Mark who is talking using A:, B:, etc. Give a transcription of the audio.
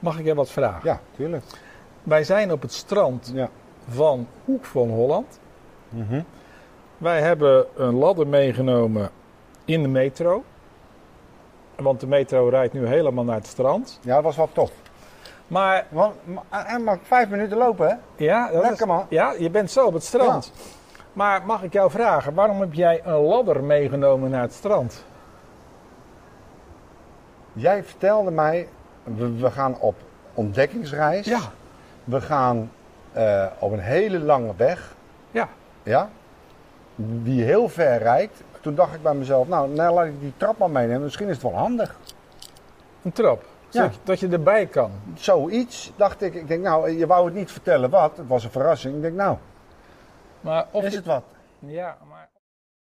A: Mag ik je wat vragen?
B: Ja, tuurlijk.
A: Wij zijn op het strand
B: Ja.
A: van Hoek van Holland.
B: Mhm.
A: Wij hebben een ladder meegenomen in de metro. Want de metro rijdt nu helemaal naar het strand.
B: Ja, dat was wel tof.
A: Maar
B: Want, ma- hij mag vijf minuten lopen, hè?
A: ja, dat
B: Lekker,
A: is,
B: man.
A: ja, je bent zo op het strand. Maar mag ik jou vragen, waarom heb jij een ladder meegenomen naar het strand?
B: Jij vertelde mij, we, we gaan op ontdekkingsreis. We gaan eh, op een hele lange weg.
A: Ja.
B: Ja? Die heel ver reikt. Toen dacht ik bij mezelf, nou, nou laat ik die trap maar meenemen. Misschien is het wel handig.
A: een trap.
B: Ja.
A: Zodat je- dat je erbij kan.
B: Zoiets dacht ik. Ik denk, nou, je wou het niet vertellen wat. Het was een verrassing. Ik denk, nou,
A: Maar of
B: is
A: je-
B: het wat?
A: Ja, maar